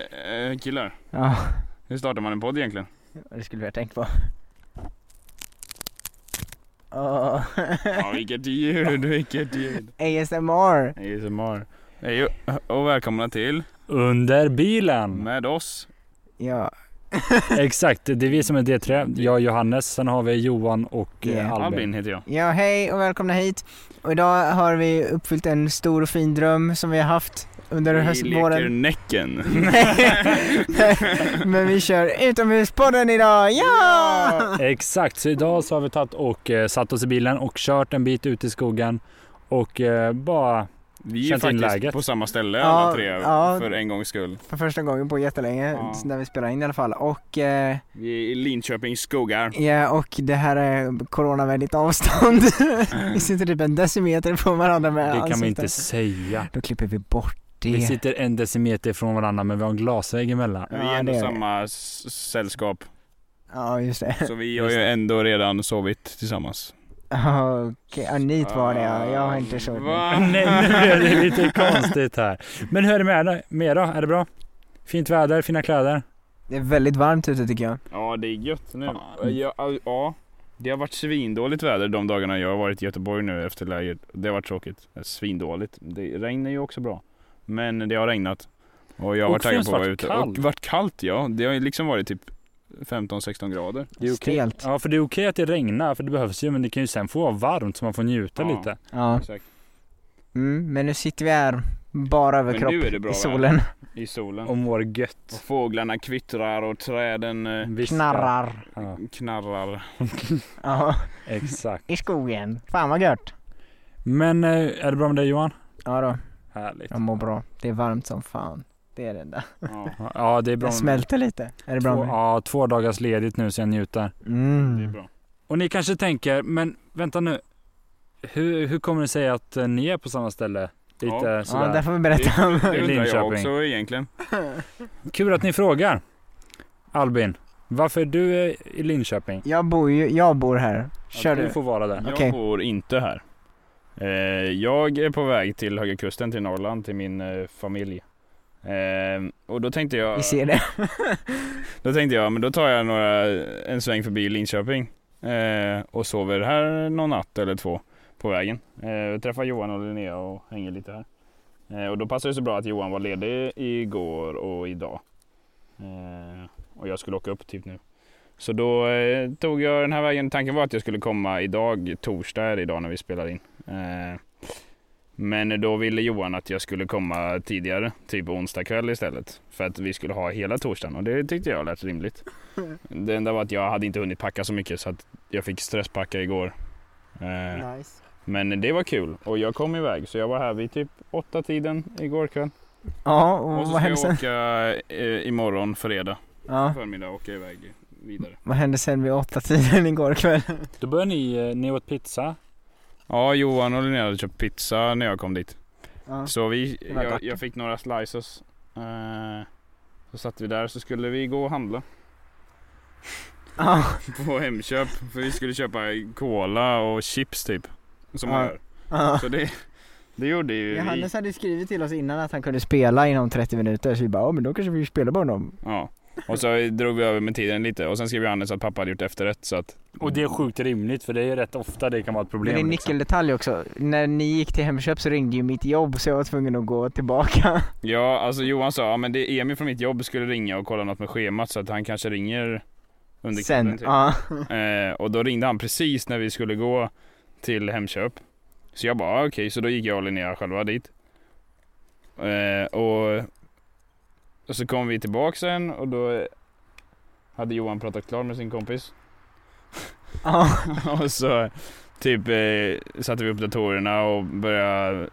Eh, killar, Ja, hur startar man en podd egentligen? det skulle vi ha tänkt på. Åh, Ja, vilket ljud, vilket ljud. ASMR! ASMR. Hej och- och välkomna till Under Mm. bilen. med oss. Ja, Exakt, det är vi som är D3. Jag och Johannes, sen har vi Johan och eh, Yeah. Albin. Albin heter jag. ja hej och välkomna hit. Och idag har vi uppfyllt en stor och fin dröm som vi har haft under Vi leker höstvåren. Näcken. Nej, Men vi kör utomhuspodden idag, ja! Exakt, så idag så har vi tagit och eh, satt oss i bilen och kört en bit ut i skogen. Och eh, bara, Vi är Känt in faktiskt läget. på samma ställe Ja, alla tre ja. för en gångs skull. För första gången på jättelänge, Ja. när vi spelar in i alla fall. Och, eh, Vi är i Linköpings skogar. ja, och det här är coronavänligt avstånd. Mm. vi sitter typ en decimeter från varandra med det kan vi ansikten. inte säga. Då klipper vi bort det. Vi sitter en decimeter från varandra men vi har en glasvägg emellan. Vi Ja, det är ändå är det. samma s- sällskap. Ja, just det. Så vi har ju ändå redan sovit tillsammans. Ja, Okej, ja, ni två var det ja. Jag har inte sovit. Va? Nej, nu är det lite konstigt här. Men hur är det med dig- med er då? Är det bra? Fint väder, fina kläder? Det är väldigt varmt ute tycker jag. Ja det är gött nu. Ja. Ja, ja, det har varit svindåligt väder de dagarna jag har varit i Göteborg nu efter läget. Det har varit tråkigt. Eh, Svindåligt. Det regnar ju också bra. Men det har regnat. Och jag har Och varit taggad först på att vara varit ute. kallt. Och varit kallt ja. Det har ju liksom varit typ 15-16 grader. Det är okej. Stelt. Ja, för det är okej att det regnar, för det behövs ju, men det kan ju sen få vara varmt så man får njuta Ja. lite. Ja. Exakt. Mm, men nu sitter vi här, bara Men överkropp nu är det bra i solen. I solen. Och mår Och gött. fåglarna kvittrar och träden eh, Visst, Knarrar. Ja, knarrar. Ja, exakt. i skogen. Fan vad gött. Men eh, är det bra med dig Johan? Ja då, Härligt. jag mår bra. Det är varmt som fan. Det är det enda. Ja, Ja, det är bra. Jag smälter lite. Är det bra två, med ja, två dagars ledigt nu så jag njuter. det är mm. bra. Och ni kanske tänker, men vänta nu. Hur, hur kommer det sig att eh, ni är på samma ställe? Lite Ja. Ja, sådär. där får vi berätta om. Det undrar jag Linköping. också egentligen. Kul att ni frågar. Albin, varför är du eh, i Linköping? Jag bor ju, jag bor här. Kör du du. får vara där. Jag Okej. bor inte här. Eh, Jag är på väg till Höga Kusten, till Norrland, till min eh, familj. Eh, Och då tänkte jag, Vi ser det. då tänkte jag, men då tar jag några, en sväng förbi Linköping eh, och sover här någon natt eller två på vägen. Eh, Jag träffar Johan och Linnea och hänger lite här. Eh, Och då passade det så bra att Johan var ledig igår och idag. Eh, Och jag skulle åka upp typ nu. Så då eh, tog jag den här vägen. Tanken var att jag skulle komma idag, torsdag är det idag när vi spelar in. Eh, men då ville Johan att jag skulle komma tidigare, typ onsdag kväll istället. För att vi skulle ha hela torsdagen och det tyckte jag lät rimligt. Det enda var att jag hade inte hunnit packa så mycket så att jag fick stresspacka igår. Eh, Nice. men det var kul och jag kom iväg så jag var här vid typ åtta tiden igår kväll. Ja, och Och så vad ska hände jag sen? åka eh, imorgon fredag Ja, förmiddag och åka iväg vidare. vad hände sen vid åtta tiden igår kväll? Då börjar ni, eh, ni åt pizza. Ja, Johan och Linnea hade köpt pizza när jag kom dit. Ja. Så vi, Det var jag, gott. jag fick några slices. Eh, så satt vi där så skulle vi gå och handla Ja. på Hemköp. För vi skulle köpa cola och chips typ. Som man Ja. gör. ja. Så det, det gjorde ju vi. Johannes hade ju skrivit till oss innan att han kunde spela inom 30 minuter så vi bara, ja men då kanske vi spelar på honom. Ja. Och så drog vi över med tiden lite och sen skrev Johannes att pappa hade gjort efterrätt så att Och det är sjukt rimligt för det är ju rätt ofta det kan vara ett problem. Men det är en liksom. nyckeldetalj också. När ni gick till Hemköp så ringde ju mitt jobb så jag var tvungen att gå tillbaka. Ja, alltså Johan sa ja, men det Emil från mitt jobb skulle ringa och kolla något med schemat så att han kanske ringer under kvällen. Sen, Typ. ja. Eh, och då ringde han precis när vi skulle gå till Hemköp. Så jag bara ah, okej, så då gick jag och Linnea själva dit. Eh, och, och så kom vi tillbaka sen och då hade Johan pratat klart med sin kompis. ja. och så typ eh, satte vi upp datorerna och började...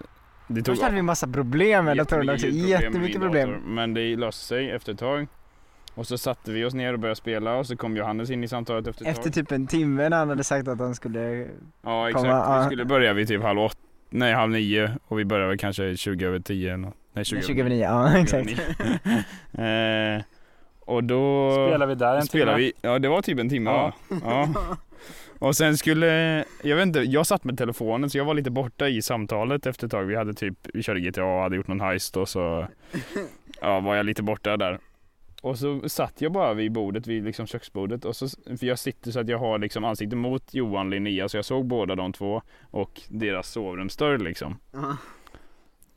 Det Först hade vi massa problem med datorn också, Jättemycket jättemycket med min problem. dator. Men det löste sig efter ett tag. Och så satte vi oss ner och började spela och så kom Johannes in i samtalet efter ett Efter tag. typ en timme när han hade sagt att han skulle... Ja exakt. komma, vi ja. skulle börja vid typ halv åtta, nej halv nio och vi började väl kanske 20 över 10 eller nåt. Nej 20, Nej, över 29, ja exakt. 20. eh, och då Spelar vi där en spelade timme? vi, ja det var typ en timme Ja. va? Ja. Och sen skulle, jag vet inte, jag satt med telefonen så jag var lite borta i samtalet efter ett tag. Vi hade typ, vi körde GTA och hade gjort någon heist och så ja, var jag lite borta där. Och så satt jag bara vid bordet, vid liksom köksbordet. Och så, för jag sitter så att jag har liksom ansiktet mot Johan Linnea så jag såg båda de två och deras sovrumsdörr liksom. Ja.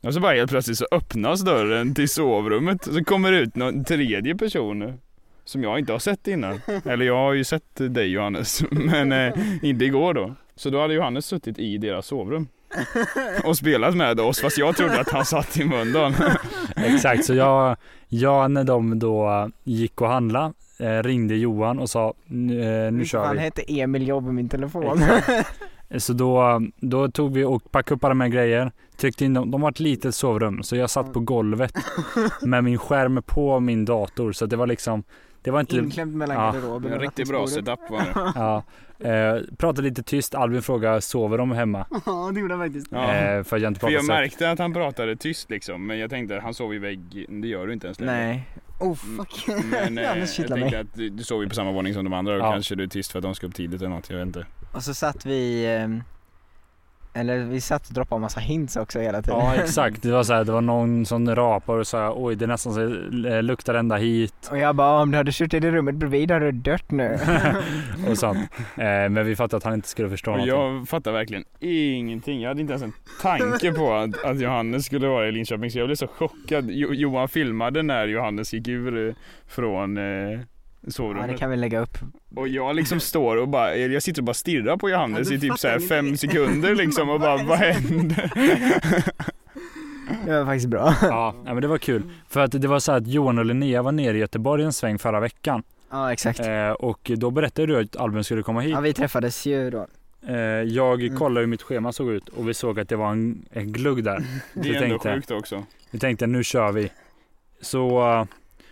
Och så bara helt plötsligt så öppnas dörren till sovrummet så kommer det ut någon tredje person som jag inte har sett innan. Eller jag har ju sett dig Johannes, men eh, inte igår då. Så då hade Johannes suttit i deras sovrum och spelat med oss fast jag trodde att han satt i Mölndal. Exakt, så jag, jag när de då gick och handla eh, ringde Johan och sa "Nu- eh, nu kör Han vi. Eh, hette Emil Jobb i min telefon. Så då, då tog vi och packade upp alla mina grejer, tryckte in dem. De var ett litet sovrum så jag satt på golvet med min skärm på min dator så att det var liksom det var inte, Inklämd mellan Ja. garderoben och Riktigt bra nattduksbordet. setup var det. ja, eh, pratade lite tyst. Albin frågade sover de hemma? Ja, det gjorde han faktiskt. Ja. Eh, för att jag inte För pratade jag så. märkte att han pratade tyst liksom, men jag tänkte han sov i vägg, det gör du inte ens längre. Nej. Oh fuck. Men eh, jag Johannes kittlar tänkte mig. att du, du sov ju på samma våning som de andra och Ja. kanske du är tyst för att de ska upp tidigt eller något, jag vet inte. Och så satt vi, ehm, eller vi satt och droppade en massa hints också hela tiden. Ja exakt, det var, så här, det var någon som rapade och sa oj det är nästan så eh, luktar ända hit Och jag bara, om du hade suttit i det rummet bredvid hade du dött nu. och sånt. Eh, men vi fattade att han inte skulle förstå Och någonting. jag fattar verkligen ingenting. Jag hade inte ens en tanke på att, att Johannes skulle vara i Linköping så jag blev så chockad. Jo, Johan filmade när Johannes gick ur eh, från eh, Ja, det sovrummet. kan vi lägga upp. Och jag liksom står och bara, jag sitter och bara stirrar på Johannes Ja, du i typ fattar så här fem ingenting. sekunder liksom och bara vad händer? Det var faktiskt bra. Ja, nej, men det var kul. För att det var så här att Johan och Linnea var nere i Göteborg en sväng förra veckan. Ja, exakt. Eh, och då berättade du att Albin skulle komma hit. Ja, vi träffades ju då. Eh, Mm. jag kollade hur mitt schema såg ut och vi såg att det var en, en glugg där. Det är Jag ändå tänkte. sjukt också. Vi tänkte nu kör vi. Så, eh,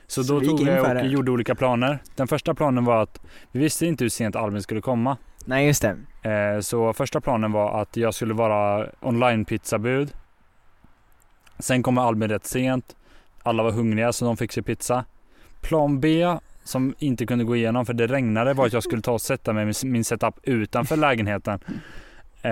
så Så då vi gick tog in vi för och det. gjorde olika planer. Den första planen var att vi visste inte hur sent Albin skulle komma. Nej, just det. Eh, så första planen var att jag skulle vara online pizzabud. Sen kommer Albin rätt sent. Alla var hungriga så de fick sig pizza. Plan B som inte kunde gå igenom för det regnade var att jag skulle ta och sätta mig med min setup utanför lägenheten. Eh,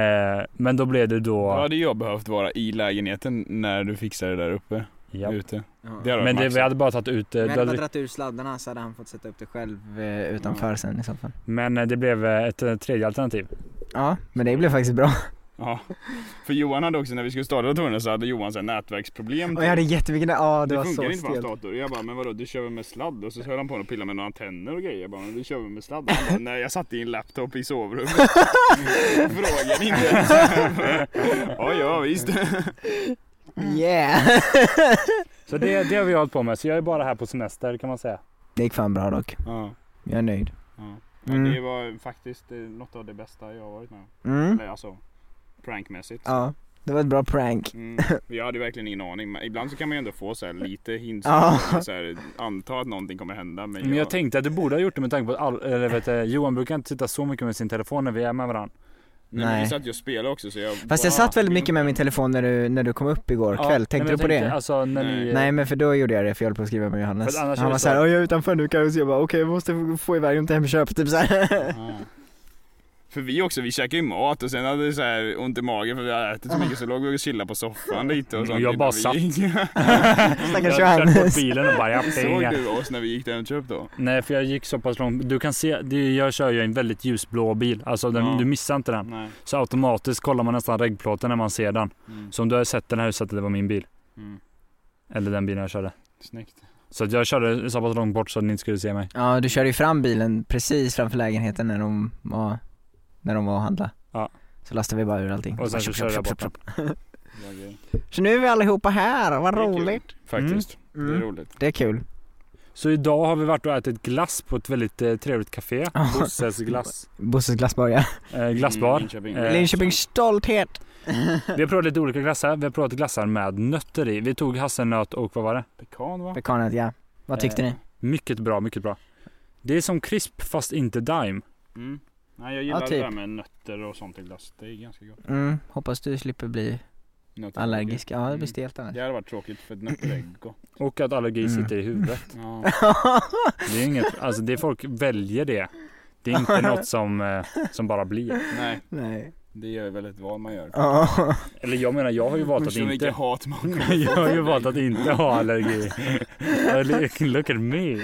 men då blev det Då då... hade jag behövt vara i lägenheten när du fixade det där uppe, Ja. ute. Det Ja. hade varit Men det, vi maxat. hade bara tagit ut... Vi eh, då hade hade bara vi- dragit ur sladdarna så hade han fått sätta upp det själv eh, utanför sen i så fall. Men eh, det blev eh, ett eh, tredje alternativ. Ja, men det blev faktiskt bra. Ja. För Johan hade också, när vi skulle starta datorerna så hade Johan så här nätverksproblem. Och jag hade jättemycket, ja det, Det, var så funkar inte på hans stelt. dator. Jag bara, men vadå du kör väl med sladd? Och så höll han på att pilla med några antenner och grejer. Jag bara, men du kör väl med sladd? Han bara, nej jag satt i en laptop i sovrummet. Frågan inte. ja, ja visst. Yeah! Så det, det har vi hållit på med. Så jag är bara här på semester kan man säga. Det gick fan bra dock. Ja, Jag är nöjd. ja. Mm. Det var faktiskt eh, något av det bästa jag har varit med om. Mm. Eller alltså, prankmässigt. Ja, det var ett bra prank. Mm. Jag hade verkligen ingen aning. Men ibland så kan man ju ändå få så här lite hints. Ja. Så här, anta att någonting kommer hända. Men, Men jag tänkte att du borde ha gjort det med tanke på att all, eller vet, du, Johan brukar inte sitta så mycket med sin telefon när vi är med varandra. Nej, men Nej. vi satt ju och spelade också. Så jag Fast jag bara- satt väldigt mycket med min telefon när du, när du kom upp igår Ja, kväll, nej, tänkte men du jag på tänkte, det? Alltså, när ni, Nej men för då gjorde jag det för jag höll på att skriva med Johannes. För annars är Han det var så- såhär, "Ja, jag är utanför nu kan jag se, jag bara okej jag måste få iväg dem till Hemköp typ såhär. För vi också, vi käkade ju mat och sen hade vi så här ont i magen för vi hade ätit så mycket så låg vi och chillade på soffan lite och sånt. Och Mm, jag bara innan vi gick. Stackars jag körde bort Johannes. bilen och bara ja, Såg pengar. du oss när vi gick till Hemköp då? Nej för jag gick så pass långt. Du kan se, det, jag kör ju en väldigt ljusblå bil. Alltså den, Ja. du missar inte den. Nej. Så automatiskt kollar man nästan regplåten när man ser den. Mm. Så om du har sett den här så att det var min bil. Mm. Eller den bilen jag körde. Snyggt. Så att jag körde så pass långt bort så att ni inte skulle se mig. Ja du körde ju fram bilen precis framför lägenheten när de var, när de var och handla. Ja. Så lastade vi bara ur allting. Och sen så körde jag bort den. Bra grej. Så nu är vi allihopa här, vad Det är kul. roligt. Faktiskt. Det är Mm. roligt. Det är kul. Mm. Så idag har vi varit och ätit glass på ett väldigt eh, trevligt café. Ja. Bosses glass. Bosses glassbar ja. Eh, Mm, glassbar. Linköping. Eh, Linköpings stolthet. Vi har provat lite olika glassar. Vi har provat glassar med nötter i. Vi tog hasselnöt och vad var det? Pekan va? Pekanet ja. Vad tyckte Eh, ni? Mycket bra, mycket bra. Det är som krisp fast inte daim. Mm. Nej jag gillar Ja, det typ. där med nötter och sånt i glass. Det är ganska gott. Mm, hoppas du slipper bli Nötter är allergisk. Ja det blir Mm. stelt annars. Det hade varit tråkigt för att nötter är gott. Och att allergi Mm. sitter i huvudet. Ja. alltså- Det är inget, alltså det är folk väljer det. Det är inte något som, eh, som bara blir. Nej, Nej. det gör väl ett val man gör. Ja. Eller jag menar, jag har ju valt att Förstår vilket inte. hat man kommer få Jag har ju från valt dig. att inte ha allergi. Eller, Look at me.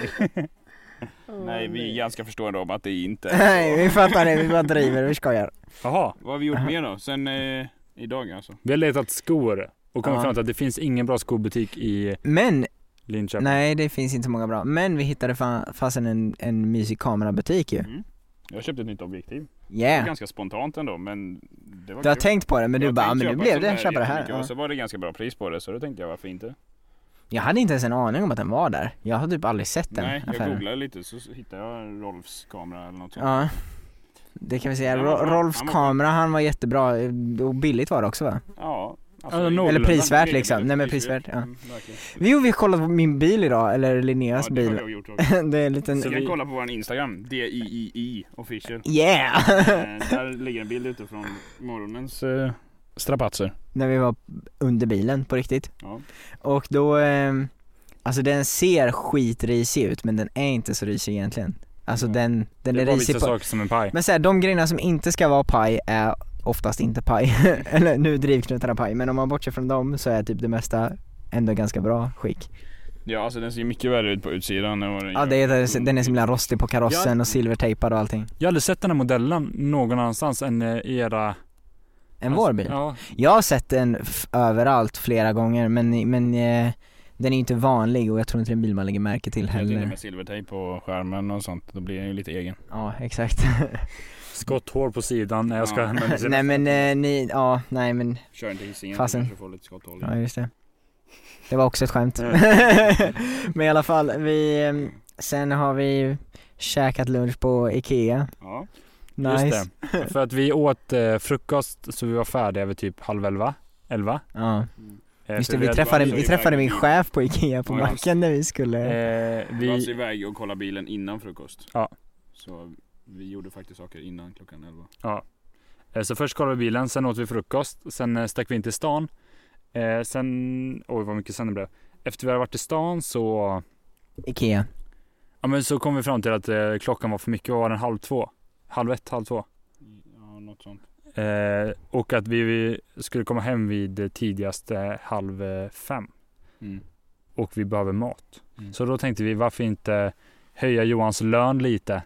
Nej, vi är ganska förstående om att det inte är så. Nej, vi fattar det. Vi bara driver. Vi skojar. Jaha, Vad har vi gjort mer då? Sen eh, idag alltså? vi har letat skor och kommit Ja. fram till att det finns ingen bra skobutik i Men, Linköping. nej det finns inte så många bra. Men vi hittade fa- fasen en, en mysig kamerabutik ju. Mm. Jag köpte ett nytt objektiv. Det var Yeah. Ganska spontant ändå men det var Du har kul. tänkt på det men du Jag bara, "Ja, tänkte men nu köpa blev sån det, köpa det här. jättemycket, Och Ja. så var det ganska bra pris på det så då tänkte jag varför inte? Jag hade inte ens en aning om att den var där. Jag har typ aldrig sett den Nej, jag affären. googlade lite så hittade jag Rolfs kamera eller något sånt. Ja. Det kan vi säga. Den var Ro- bra. Rolfs Han var bra. kamera, han var jättebra. Och billigt var det också va? Ja. alltså Ja, det- någorlunda. Eller prisvärt det- liksom. det- Nej men prisvärt. Ja. Mm, verkligen. Jo, vi har kollat på min bil idag, eller Ja, Linneas det har bil. jag gjort också. det är en liten... Så Så vi kan vi- kolla på vår Instagram, DIII official. Yeah! Eh, Där ligger en bild ute från morgonens eh, strapatser. När vi var under bilen på riktigt. Ja. Och då, ehm, alltså den ser skitrisig ut men den är inte så risig egentligen. Alltså Nej. den, den Det är är bara risig vissa på... saker som en paj. Men såhär, de grejerna som inte ska vara paj är oftast inte paj. Eller nu är drivknutarna paj, men om man bortser från dem så är typ det mesta ändå ganska bra skick. ja, alltså den ser mycket värre ut på utsidan än vad den Ja, gör. det är, den är så himla rostig på karossen Ja. och silvertejpad och allting. Jag har aldrig sett den här modellen någon annanstans än eh, i era... En vår bil. Ja, Jag har sett den f- överallt flera gånger men, men eh, den är ju inte vanlig och jag tror inte det är en bil man lägger märke till Jag tycker heller. med silvertejp på skärmen och sånt, då blir den ju lite egen. Ja, exakt. skotthår på sidan. Nej, jag ska... Ja. Men, nej men eh, ni, ja, nej men, Kör inte Hisingen, Fasen. kanske får lite skotthål. ja just det. Det var också ett skämt. men i alla fall, vi, eh, sen har vi käkat lunch på Ikea. Ja. Nice. Just det. För att vi åt eh, frukost så vi var färdiga vid typ halv elva. Elva. Ja, Eh, just för det, vi hade- träffade, varit vi så träffade min iväg. chef på Ikea på Ja, just macken när vi skulle Eh, Vi var alltså vi, iväg och kollade bilen innan frukost. Ja. Så vi gjorde faktiskt saker innan klockan 11. eh, så först kollade vi bilen, sen åt vi frukost, sen eh, stack vi in till stan. Eh, sen, oj vad mycket sen det blev. Efter vi hade varit i stan så, Ikea. ja men så kom vi fram till att eh, klockan var för mycket, vad var den? Halv två? Halv ett, halv två. Ja, något sånt. Eh, och att vi, vi skulle komma hem vid eh, tidigast eh, halv eh, fem. Mm. och vi behöver mat. Mm. Så då tänkte vi varför inte höja Johans lön lite?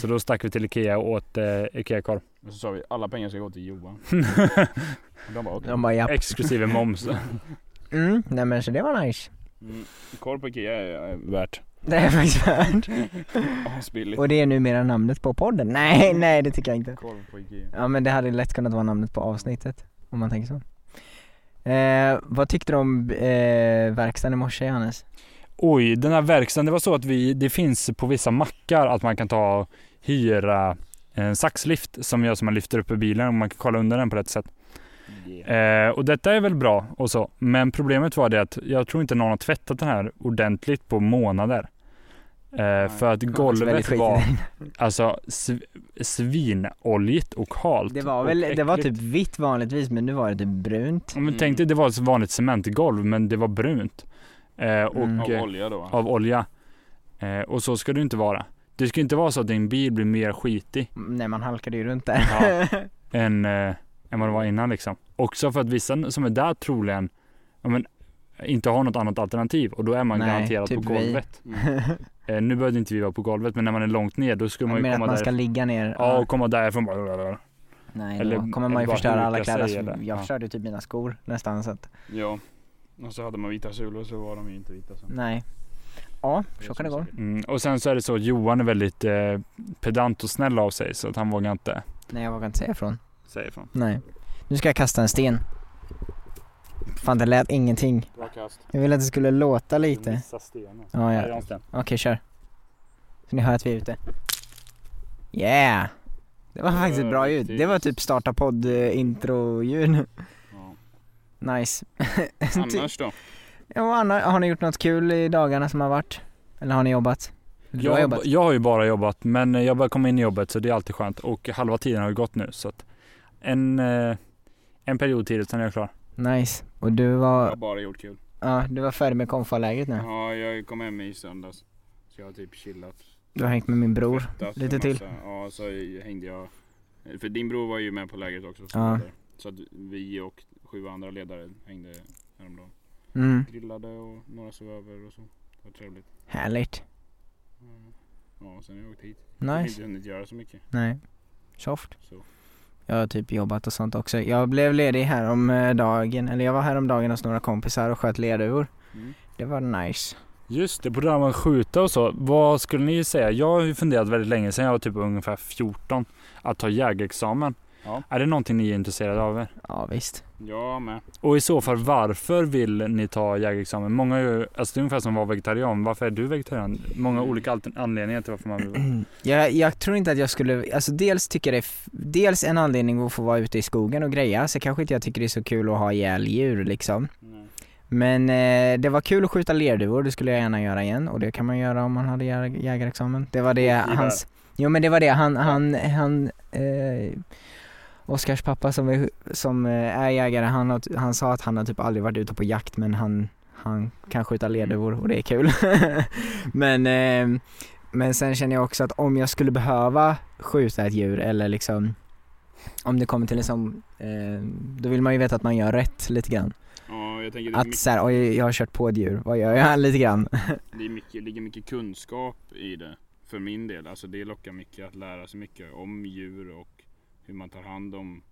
Så då stack vi till Ikea och åt eh, Ikea-korv. Och så sa vi, alla pengar ska gå till Johan. Och de bara okej. De bara ja. Exklusive moms. Mm, nej men så det var nice. Mm. Korv på Ikea är är värt. Det är faktiskt värt. Asbilligt. Och det är numera namnet på podden? Nej, nej det tycker jag inte. Korv på Ikea. Ja men det hade lätt kunnat vara namnet på avsnittet, om man tänker så. Eh, vad tyckte du om eh, verkstaden i morse Johannes? Oj, den här verkstaden, det var så att vi, det finns på vissa mackar att man kan ta och hyra en saxlift som gör så man lyfter upp i bilen och man kan kolla under den på rätt sätt. Yeah. Eh, och detta är väl bra och så. Men problemet var det att jag tror inte någon har tvättat den här ordentligt på månader. Eh, för att Det var faktiskt väldigt golvet skitigt. var Alltså sv- svinoljigt och halt. Det var och väl, det var typ äckligt. vitt vanligtvis men nu var det typ brunt. Ja, Men tänk dig, det var ett vanligt cementgolv men det var brunt. Eh, och, Mm. Av eh, olja då. av olja. Eh, och så ska det ju inte vara. Det ska inte vara så att din bil blir mer skitig Mm, Nej man halkade ju runt där. Ja. än, eh, än vad det var innan liksom. Också för att vissa som är där troligen ja, men, inte har något annat alternativ och då är man Nej, garanterat typ på vi. golvet. Mm. Eh, nu behövde inte vi vara på golvet men när man är långt ner då skulle man Men ju att komma man ska där. ligga ner. Ja, och komma därifrån bara. Nej då eller- kommer man eller ju bara förstöra alla huka sig kläder. eller- jag ja. förstörde ju typ mina skor nästan så att, Ja. Och så hade man vita sulor så var de ju inte vita sen. nej. Ja, så kan det gå. Mm, och sen så är det så att Johan är väldigt eh, pedant och snäll av sig så att han vågar inte Nej jag vågar inte säga ifrån. säga ifrån. Nej. Nu ska jag kasta en sten. Fan det lät ingenting. Bra kast. Jag ville att det skulle låta lite. Ja, ja. Okej, kör. Så ni hör att vi är ute. Yeah! Det var faktiskt ett bra ljud. Det var typ starta podd eh, intro ljud. Ja. Nice. Typ. Annars då? Ja, Anna, har ni gjort något kul i dagarna som har varit? Eller har ni jobbat? Eller Du Jag, har har- jobbat? jag har ju bara jobbat men eh, jag börjar komma in i jobbet så det är alltid skönt och halva tiden har ju gått nu så att en, eh, en period till sen är jag klar. Nice. Och du Jag har var, bara gjort kul. ja, du var färdig med konfalägret nu? Ja, jag kom hem i söndags. Så jag har typ chillat Du har hängt med min bror. Fettat Lite en till. massa. Ja, så hängde jag. För din bror var ju med på lägret också. som Ja. ledare. Så att vi och sju andra ledare hängde häromdagen. Mm. Grillade och några sov över och så. Det var trevligt. Härligt. Mm. Ja, sen har jag åkt hit. Jag har Nice. inte hunnit göra så mycket. Nej. Soft. Så. Jag har typ jobbat och sånt också. Jag blev ledig här om eh, dagen eller jag var här om dagen hos några kompisar och sköt lerduvor. Mm. Det var nice. Just det, på det där med att skjuta och så. Vad skulle ni säga? Jag har ju funderat väldigt länge sedan jag var typ ungefär 14 att ta jägarexamen. Ja. Är det någonting ni är intresserade av? Ja visst. Jag med. Och i så fall varför vill ni ta jägarexamen? Många är ju, alltså det är ungefär som att vara vegetarian. Varför är du vegetarian? Många olika altern- anledningar till varför man vill Jag, jag tror inte att jag skulle, alltså dels tycker jag det, är f- dels en anledning att få vara ute i skogen och greja, så kanske inte jag tycker det är så kul att ha ihjäl djur liksom. Nej. Men eh, det var kul att skjuta lerduvor, det skulle jag gärna göra igen och det kan man göra om man hade jä- jägarexamen. Det var det gevär. hans, jo men det var det han, han, han, eh, Oskars pappa som är, som eh, är jägare, han, har, han sa att han har typ aldrig varit ute på jakt men han, han kan skjuta lerduvor och det är kul. men, eh, men sen känner jag också att om jag skulle behöva skjuta ett djur eller liksom om det kommer till en sån, eh, då vill man ju veta att man gör rätt lite grann. Ja, jag tänker det, är Att mycket, såhär, oj jag har kört på ett djur, vad gör jag? Lite grann. det, är mycket, det ligger mycket kunskap i det. För min del. Alltså det lockar mycket att lära sig mycket om djur och hur man tar hand om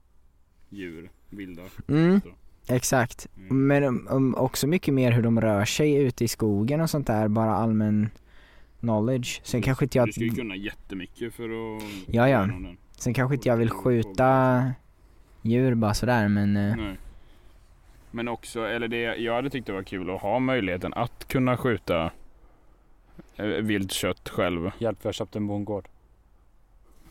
djur. Vilda. Mm, Så. exakt. Mm. Men um, um, också mycket mer hur de rör sig ute i skogen och sånt där, bara allmän knowledge. Sen kanske inte jag, Du ska ju kunna jättemycket för att... Ja, ja. lära någon den. sen kanske inte jag vill skjuta djur bara sådär men, eh, Nej. Men också, eller det jag hade tyckt det var kul att ha möjligheten att kunna skjuta eh, vilt kött själv. Hjälp, jag köpte en bondgård.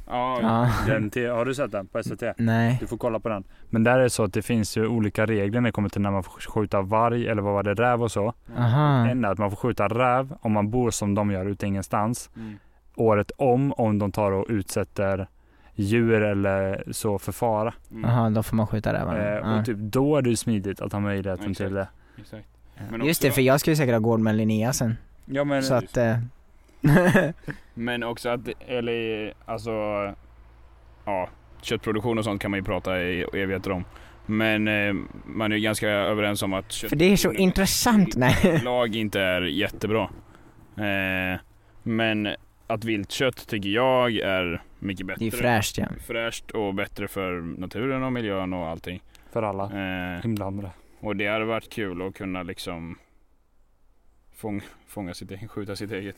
Ja, ja, Den till, har du sett den på SVT? nej. Du får kolla på den. Men där är det så att det finns ju olika regler när det kommer till när man får skjuta varg eller vad var det, räv och så. Aha. En är att man får skjuta räv om man bor som de gör ute ingenstans. Mm. Året om, om de tar och utsätter djur eller så för fara. Mm. Aha, då får man skjuta rävarna. Eh, Ja. och typ då är det ju smidigt att ha möjligheten Exakt. till det. Exakt. Just det, för jag ska ju säkert ha gård med Linnea sen. Ja men Så att, eh, Men också att, eller alltså, ja, köttproduktion och sånt kan man ju prata i evigheter om. Men eh, man är ju ganska överens om att kött för det är så intressant. Nej. lag inte är jättebra. Eh, men att viltkött tycker jag är mycket bättre. Det är fräscht ja. fräscht och bättre för naturen och miljön och allting. för alla Eh, inblandade. och det hade varit kul att kunna liksom fång, fånga sitt eget, skjuta sitt eget.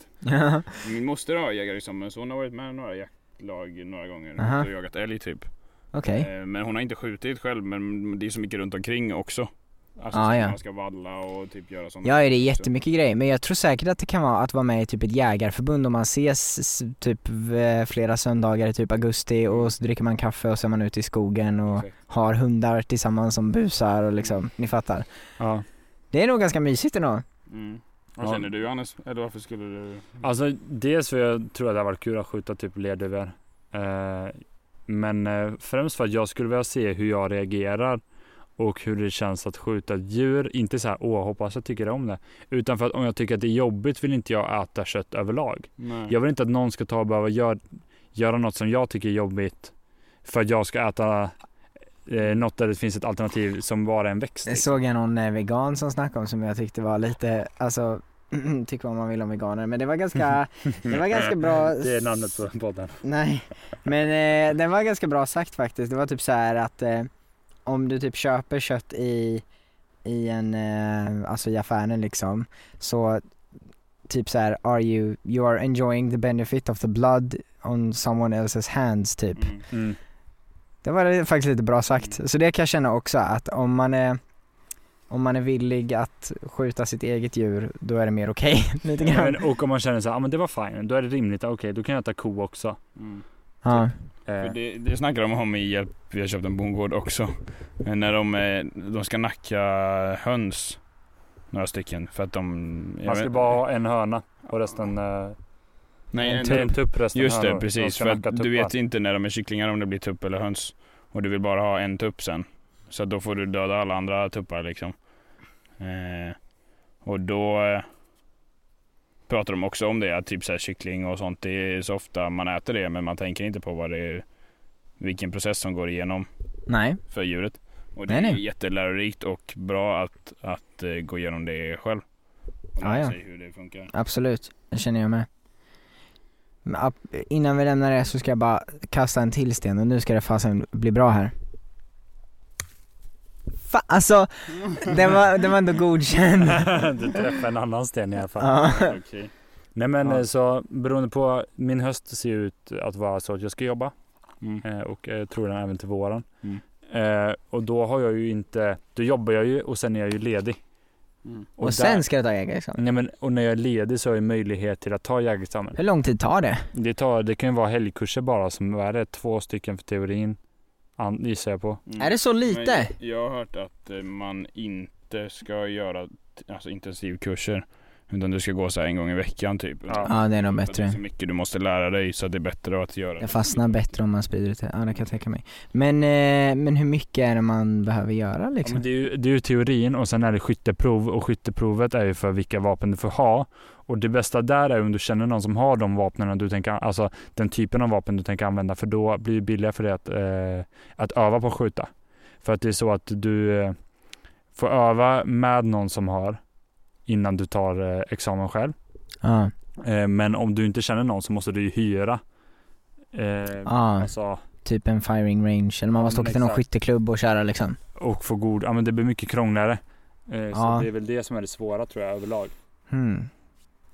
Min moster har jägarexamen så hon har varit med i några jaktlag några gånger Aha. och jagat älg typ. Okej. Eh, men hon har inte skjutit själv men det är så mycket runt omkring också. Alltså Ah, så ja. man ska valla och typ göra sådana Ja, det är jättemycket grejer. Men jag tror säkert att det kan vara att vara med i typ ett jägarförbund och man ses s- typ v- flera söndagar i typ augusti Mm. och så dricker man kaffe och så är man ute i skogen och Exakt. har hundar tillsammans som busar och liksom, ni fattar. Ja. Det är nog ganska mysigt ändå. Mm. Vad Ja. känner du Hannes? Eller varför skulle du? Alltså dels för jag tror att det har varit kul att skjuta typ lerduvor. Eh, men eh, främst för att jag skulle vilja se hur jag reagerar och hur det känns att skjuta ett djur. Inte så här åh hoppas jag tycker om det. Utan för att om jag tycker att det är jobbigt vill inte jag äta kött överlag. Nej. Jag vill inte att någon ska ta och behöva gör, göra något som jag tycker är jobbigt för att jag ska äta eh, något där det finns ett alternativ som bara är en växt. Det såg jag någon eh, vegan som snackade om som jag tyckte var lite, alltså tycker vad man vill om veganer men det var ganska, det var ganska bra Det är namnet på podden. Nej, men eh, den var ganska bra sagt faktiskt. Det var typ så här att eh, om du typ köper kött i, i en, eh, alltså i affären liksom, så typ så här are you, you are enjoying the benefit of the blood on someone else's hands typ. Mm. Mm. Det var faktiskt lite bra sagt. Så det kan jag känna också att om man är om man är villig att skjuta sitt eget djur, då är det mer okej. lite Ja, grann. men, och om man känner så här, ah, men det var fine, då är det rimligt, ah, okej då kan jag ta ko också. Mm. För Ja. Eh, Det, det snackar de om i Hjälp, vi har köpt en bondgård också. Eh, När de, eh, de ska nacka höns. Några stycken för att de... jag man ska vet- bara ha en hörna och resten, eh, Nej, en, en tu- en tupp resten Just det, hönor. De precis. ska För nacka att du tuppar. vet inte när de är kycklingar om det blir tupp eller höns. Och du vill bara ha en tupp sen. Så att då får du döda alla andra tuppar liksom. Eh, och då... eh, pratar de också om det, att typ så här kyckling och sånt, det är så ofta man äter det men man tänker inte på vad det är, vilken process som går igenom Nej. för djuret. Och det Nej, är nej. jättelärorikt och bra att, att eh, gå igenom det själv. Och Ja, lära ja. sig hur det funkar. Absolut, det känner jag med. Men ap- innan vi lämnar det så ska jag bara kasta en till sten och nu ska det fasen bli bra här. Fa- alltså, den var, den var ändå godkänd. du träffade en annan sten i alla fall. Ja. Okej. Nej men Ja. eh, så beroende på, min höst ser ut att vara så att jag ska jobba Mm. eh, och eh, troligen även till våren. Mm. Eh, och då har jag ju inte, då jobbar jag ju och sen är jag ju ledig. Mm. Och där- sen ska du ta liksom. jägarexamen. Nej, men, och när jag är ledig så har jag möjlighet till att ta jägarexamen. Hur lång tid tar det? Det, tar, det kan ju vara helgkurser bara som, vad är det, två stycken för teorin? An, gissar jag på. Mm. Är det så lite? Men jag har hört att eh, man inte ska göra t- alltså, intensivkurser. Utan du ska gå så här en gång i veckan typ. Ja. Ja det är nog För att Det är bättre. så mycket du måste lära dig så att det är bättre att göra. Det fastnar bättre om man sprider ut det. Ja det kan jag tänka mig. Men, eh, men hur mycket är det man behöver göra Ja, liksom? men det, är ju, det är ju teorin och sen är det skytteprov och skytteprovet är ju för vilka vapen du får ha. Och det bästa där är om du känner någon som har de vapnen du tänker, alltså den typen av vapen du tänker använda för då blir det billigare för dig att, eh, att öva på att skjuta. För att det är så att du eh, får öva med någon som har innan du tar eh, examen själv. Ja, Eh, men om du inte känner någon så måste du ju hyra. Eh, ja Alltså, typ en firing range eller man Ja, måste men åka till någon exakt. skytteklubb och köra liksom. och få god, ja men det blir mycket krångligare. Eh, Ja. Så det är väl det som är det svåra tror jag överlag. Hmm.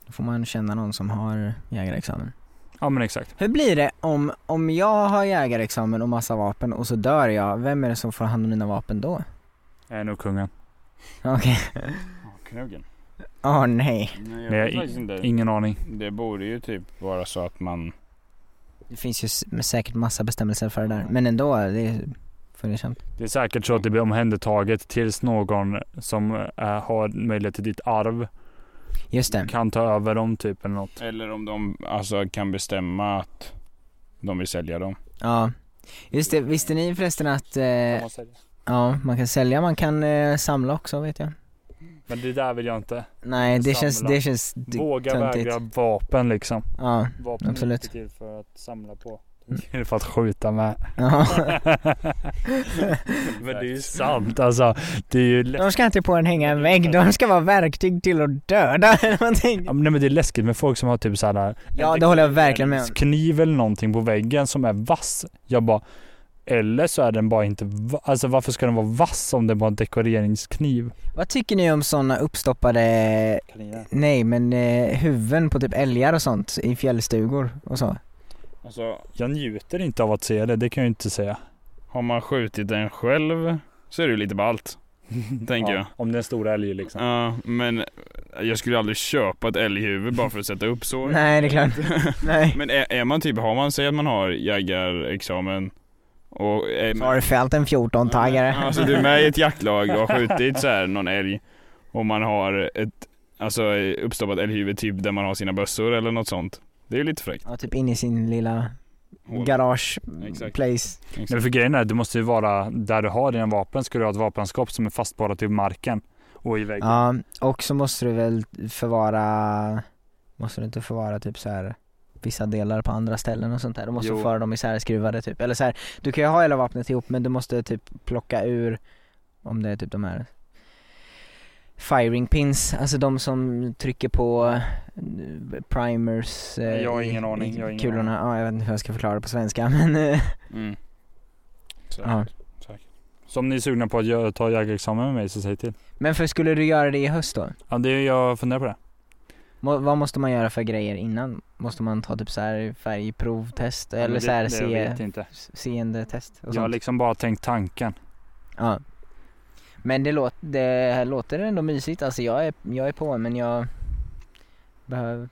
Då får man känna någon som har jägarexamen. Ja men exakt. Hur blir det om, om jag har jägarexamen och massa vapen och så dör jag, vem är det som får hand om mina vapen då? Jag är nog kungen. Okej, Ja, Knogen. åh nej. Nej, Nej, jag vet faktiskt inte. Ingen aning. Det borde ju typ vara så att man... Det finns ju s- säkert massa bestämmelser för det där, men ändå, det är fundersamt. Det är säkert så att det blir omhändertaget tills någon som eh, har möjlighet till ditt arv Just det, kan ta över dem typ eller något. Eller om de alltså, kan bestämma att de vill sälja dem. ja. Just det, visste ni förresten att, eh, ja, man kan sälja, man kan eh, samla också vet jag. Men det där vill jag inte. Nej, det känns, Samla. det känns d- Våga töntigt. vägra vapen liksom. Ja, Vapen är Absolut. inte till för att samla på. Mm. Det är för att skjuta med. ja. Men det är ju sant alltså. Det är ju läskigt. De ska inte på en hänga en vägg, de ska vara verktyg till att döda eller någonting. Ja, men nej, men det är läskigt med folk som har typ så här. Ja, det håller jag verkligen med om. en kniv eller någonting på väggen som är vass. Jag bara, eller så är den bara inte va- Alltså varför ska den vara vass om den bara är en dekoreringskniv? Vad tycker ni om sådana uppstoppade, nej men eh, huvuden på typ älgar och sånt i fjällstugor och så? Alltså, Jag njuter inte av att se det, det kan jag ju inte säga. har man skjutit den själv så är det ju lite ballt. Tänker jag. Om det är en stor älg liksom. Ja, men jag skulle aldrig köpa ett älghuvud bara för att sätta upp så. Nej det är klart, nej. Men är, är man typ, har man, säg att man har jägarexamen och är Så har du fällt en 14-taggare. Alltså du är med i ett jaktlag och har skjutit så här någon älg och man har ett alltså, uppstoppat älghuvud typ där man har sina bössor eller något sånt. Det är ju lite fräckt. Ja, typ in i sin lilla Hål. garage Exakt. place. Men för grejen är, du måste ju vara där du har dina vapen, ska du ha ett vapenskåp som är fastborrat i marken och i väggen. Ja, och så måste du väl förvara, måste du inte förvara typ så här vissa delar på andra ställen och sånt där? Du måste Jo. föra dem isärskruvade typ, eller så här, du kan ju ha hela vapnet ihop men du måste typ plocka ur, om det är typ de här firing pins, alltså de som trycker på eh, primers eh, Jag har i- ingen aning, i jag har ingen kulorna, ja jag vet inte hur jag ska förklara det på svenska men eh, Mm. Säkert. ja. Säkert. Så om ni är sugna på att gö- ta jägarexamen med mig så säg till. Men för skulle du göra det i höst då? Ja, det är, jag funderar på det. Må, vad måste man göra för grejer innan? Måste man ta typ så här färgprovtest Men eller det, så här det Jag vet se, inte. seendetest och Jag har sånt? liksom bara tänkt tanken. Ja. Men det, låt, det låter ändå mysigt, alltså jag är, jag är på men jag behöver,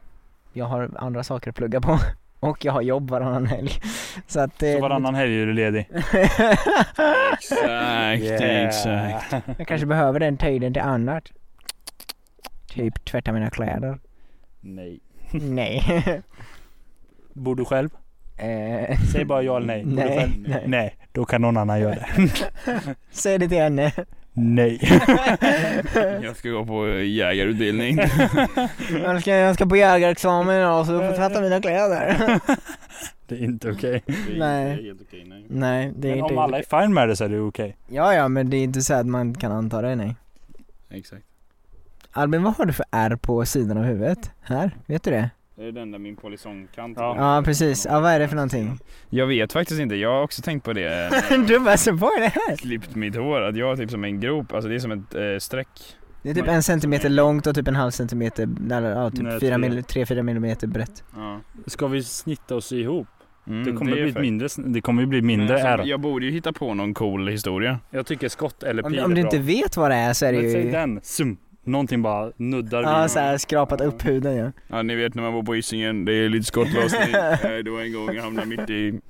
jag har andra saker att plugga på och jag har jobb varannan helg. Så att eh, Så varannan helg är du ledig. Exakt, exakt. jag kanske behöver den tiden till annat. Typ tvätta mina kläder. Nej. Nej. Bor du själv? Eh, Säg bara ja eller nej. Bor du Nej, själv? nej. nej. Då kan någon annan göra det. Säg det till henne. Nej. Jag ska gå på jägarutbildning. Jag ska, jag ska på jägarexamen idag så du får tvätta mina kläder. Det är inte okej. Nej. helt okej, nej. Nej, det är Men inte... om alla är fine med det så är det okej. Ja, ja, men det är inte så att man kan anta det, nej. Exakt. Albin, vad har du för R på sidan av huvudet? Här, vet du det? Det är den där min polisongkant. Ja, precis. Ja, vad är det för någonting? Jag vet faktiskt inte. Jag har också tänkt på det. när jag Du bara, så vad är det här? Klippt mitt hår. Att jag har typ som en grop. Alltså det är som ett eh, streck. Det är typ en centimeter långt och typ en halv centimeter, eller ja, Nej, typ fyra tre. mill- tre fyra millimeter brett. Ja. Ska vi snitta oss ihop? Mm, Det kommer är bli ett fakt- mindre, sn- det kommer ju bli mindre Men R. alltså, Jag borde ju hitta på någon cool historia. Jag tycker skott eller pil Om, är om du bra. inte vet vad det är så är det Men säg ju... den. Sum. Någonting bara nuddar Ja, vid. så här skrapat upp huden ja. Ja ni vet när man var på Hisingen. Det är lite skottlossning. Eh, det var en gång jag hamnade mitt i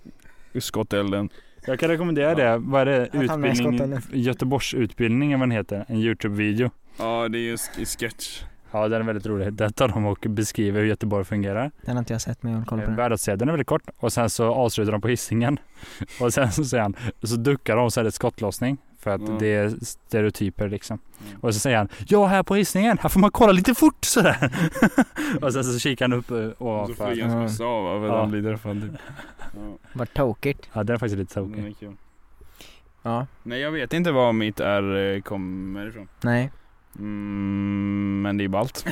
skottelden. Jag kan rekommendera det. Vad är det? Att han med Utbildning, skotten. Göteborgsutbildningen vad den heter. En Youtube-video. Ja det är ju en sk- sketch. Ja den är väldigt rolig. Där tar de och beskriver hur Göteborg fungerar. Den har inte jag sett men jag vill kolla på Eh, den. Världssedeln är väldigt kort och sen så avslutar de på hissingen Och sen så säger han, så duckar de och så är det ett skottlossning. För att Mm. det är stereotyper liksom. Mm. Och så säger han, ja här på hissingen här får man kolla lite fort sådär. och sen så kikar han upp eh, Och så flyger ovanför. han som Ja. en slav av Ja. att han blir träffad typ. Ja, Vad tokigt. Ja den är faktiskt lite den tokig. är kul. Ja. Nej jag vet inte var mitt R eh, kommer ifrån. Nej. Mm, men det är ballt.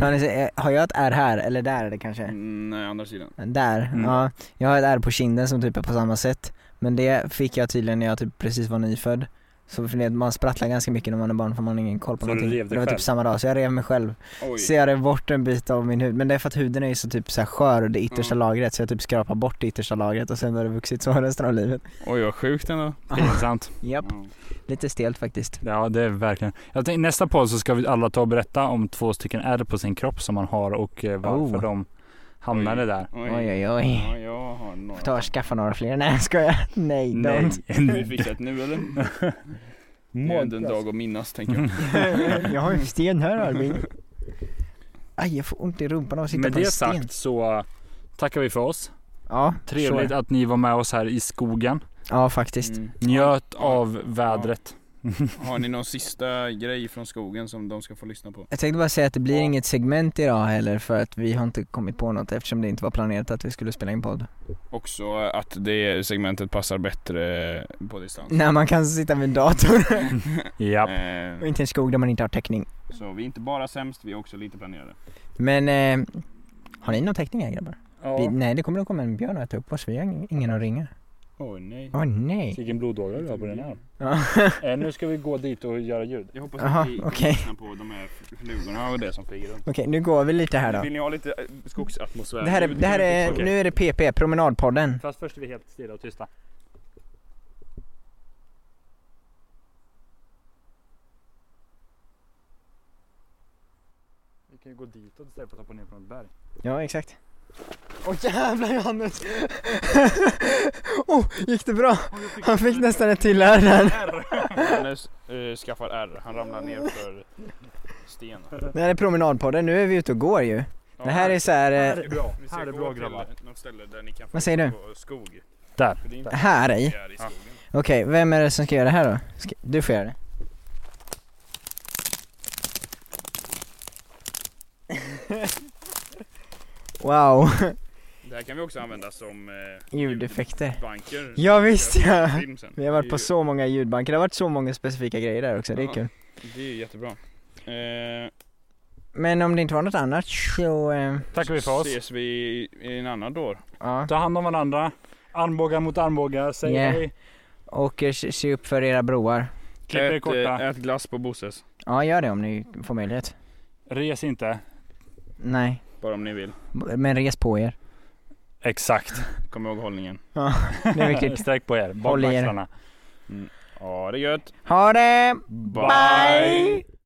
Har, ni, se- eh, har jag ett R här eller där är det kanske? Mm, nej andra sidan. Där, Mm. ja. Jag har ett R på kinden som typ är på samma sätt. Men det fick jag tydligen när jag typ precis var nyfödd. Så för det, man sprattlar ganska mycket när man är barn för man har ingen koll på Så du någonting. rev dig det var själv? typ samma dag, så jag rev mig själv. Oj. Så jag rev bort en bit av min hud, men det är för att huden är ju så typ så här skör, det yttersta Ja. lagret, så jag typ skrapar bort det yttersta lagret och sen har det vuxit så resten av livet. Oj vad sjukt ändå. Pinsamt. Japp, Ja. lite stelt faktiskt. Ja det är verkligen. Jag tänkte, nästa podd så ska vi alla ta och berätta om två stycken R på sin kropp som man har och eh, varför Oh. de hamnade Oj. där. Oj oj oj. Ja, jag har några. Får ta och skaffa några fler, nej jag skojar. Nej, Nej. don't. Har vi fixat nu eller? Det är ändå en dag att minnas tänker Mm. jag. jag har ju en sten här Albin. Aj jag får ont i rumpan av att sitta Med på en det sten. sagt så tackar vi för oss. Ja, Trevligt sure. att ni var med oss här i skogen. Ja faktiskt. Mm. Njöt av vädret. Har ni någon sista grej från skogen som de ska få lyssna på? Jag tänkte bara säga att det blir Ja. inget segment idag heller för att vi har inte kommit på något eftersom det inte var planerat att vi skulle spela in podd. Också att det segmentet passar bättre på distans. När man kan sitta vid en dator Ja. Eh, och inte i en skog där man inte har täckning. Så vi är inte bara sämst, vi är också lite planerade. Men eh, har ni någon täckning här grabbar? Vi, nej det kommer nog komma en björn och äta upp oss, vi har ing- ingen att ringa. Åh nej. Åh nej. Vilken blodådra du har på den här. Ja. Eh, nu ska vi gå dit och göra ljud. Jag hoppas Aha, att ni okej. lyssnar på de här flugorna och det som flyger runt. Okej nu går vi lite här då. Vill ni ha lite eh, skogsatmosfär? Det här är, det här är, nu är det PP, promenadpodden. Fast först är vi helt stilla och tysta. Vi kan ju gå ditåt istället för att hoppa ner från ett berg. Ja exakt. Åh jävlar Johannes! oh, gick det bra? Han fick nästan ett till här där. Johannes eh, skaffar R, han ramlar ner för sten. Det här är promenadpodden, nu är vi ute och går ju. Ja, Det här är så här, eh, bra. vi ska här är gå bra, till grabbar. Något ställe där ni kan få Vad säger ut på skog. Där. För det är inte här i. här i skogen. Okej, vem är det som ska göra det här då? Ska, du får göra det. wow, Det här kan vi också använda som eh, ljudeffekter. ljudbanker. Ja, visst, ja. Film sen. Vi har Det varit är på ju- så många ljudbanker, det har varit så många specifika grejer där också, det är Ja. kul. Det är ju jättebra. Eh, Men om det inte var något annat så, eh, Tackar vi för oss. ses vi i- i en annan dag. ja. Ta hand om varandra. Armbågar mot armbågar. Säg Yeah. hej. Och eh, se se upp för era broar. Klipp er Ät, korta. eh, ät glass på Bosses. Ja, gör det om ni får möjlighet. Res inte. Nej, Bara om ni vill. men res på er. Exakt. Kom ihåg hållningen. Det är viktigt. Sträck på er. Bak Håll i er. axlarna. Ja det är gött. Ha det! Bye.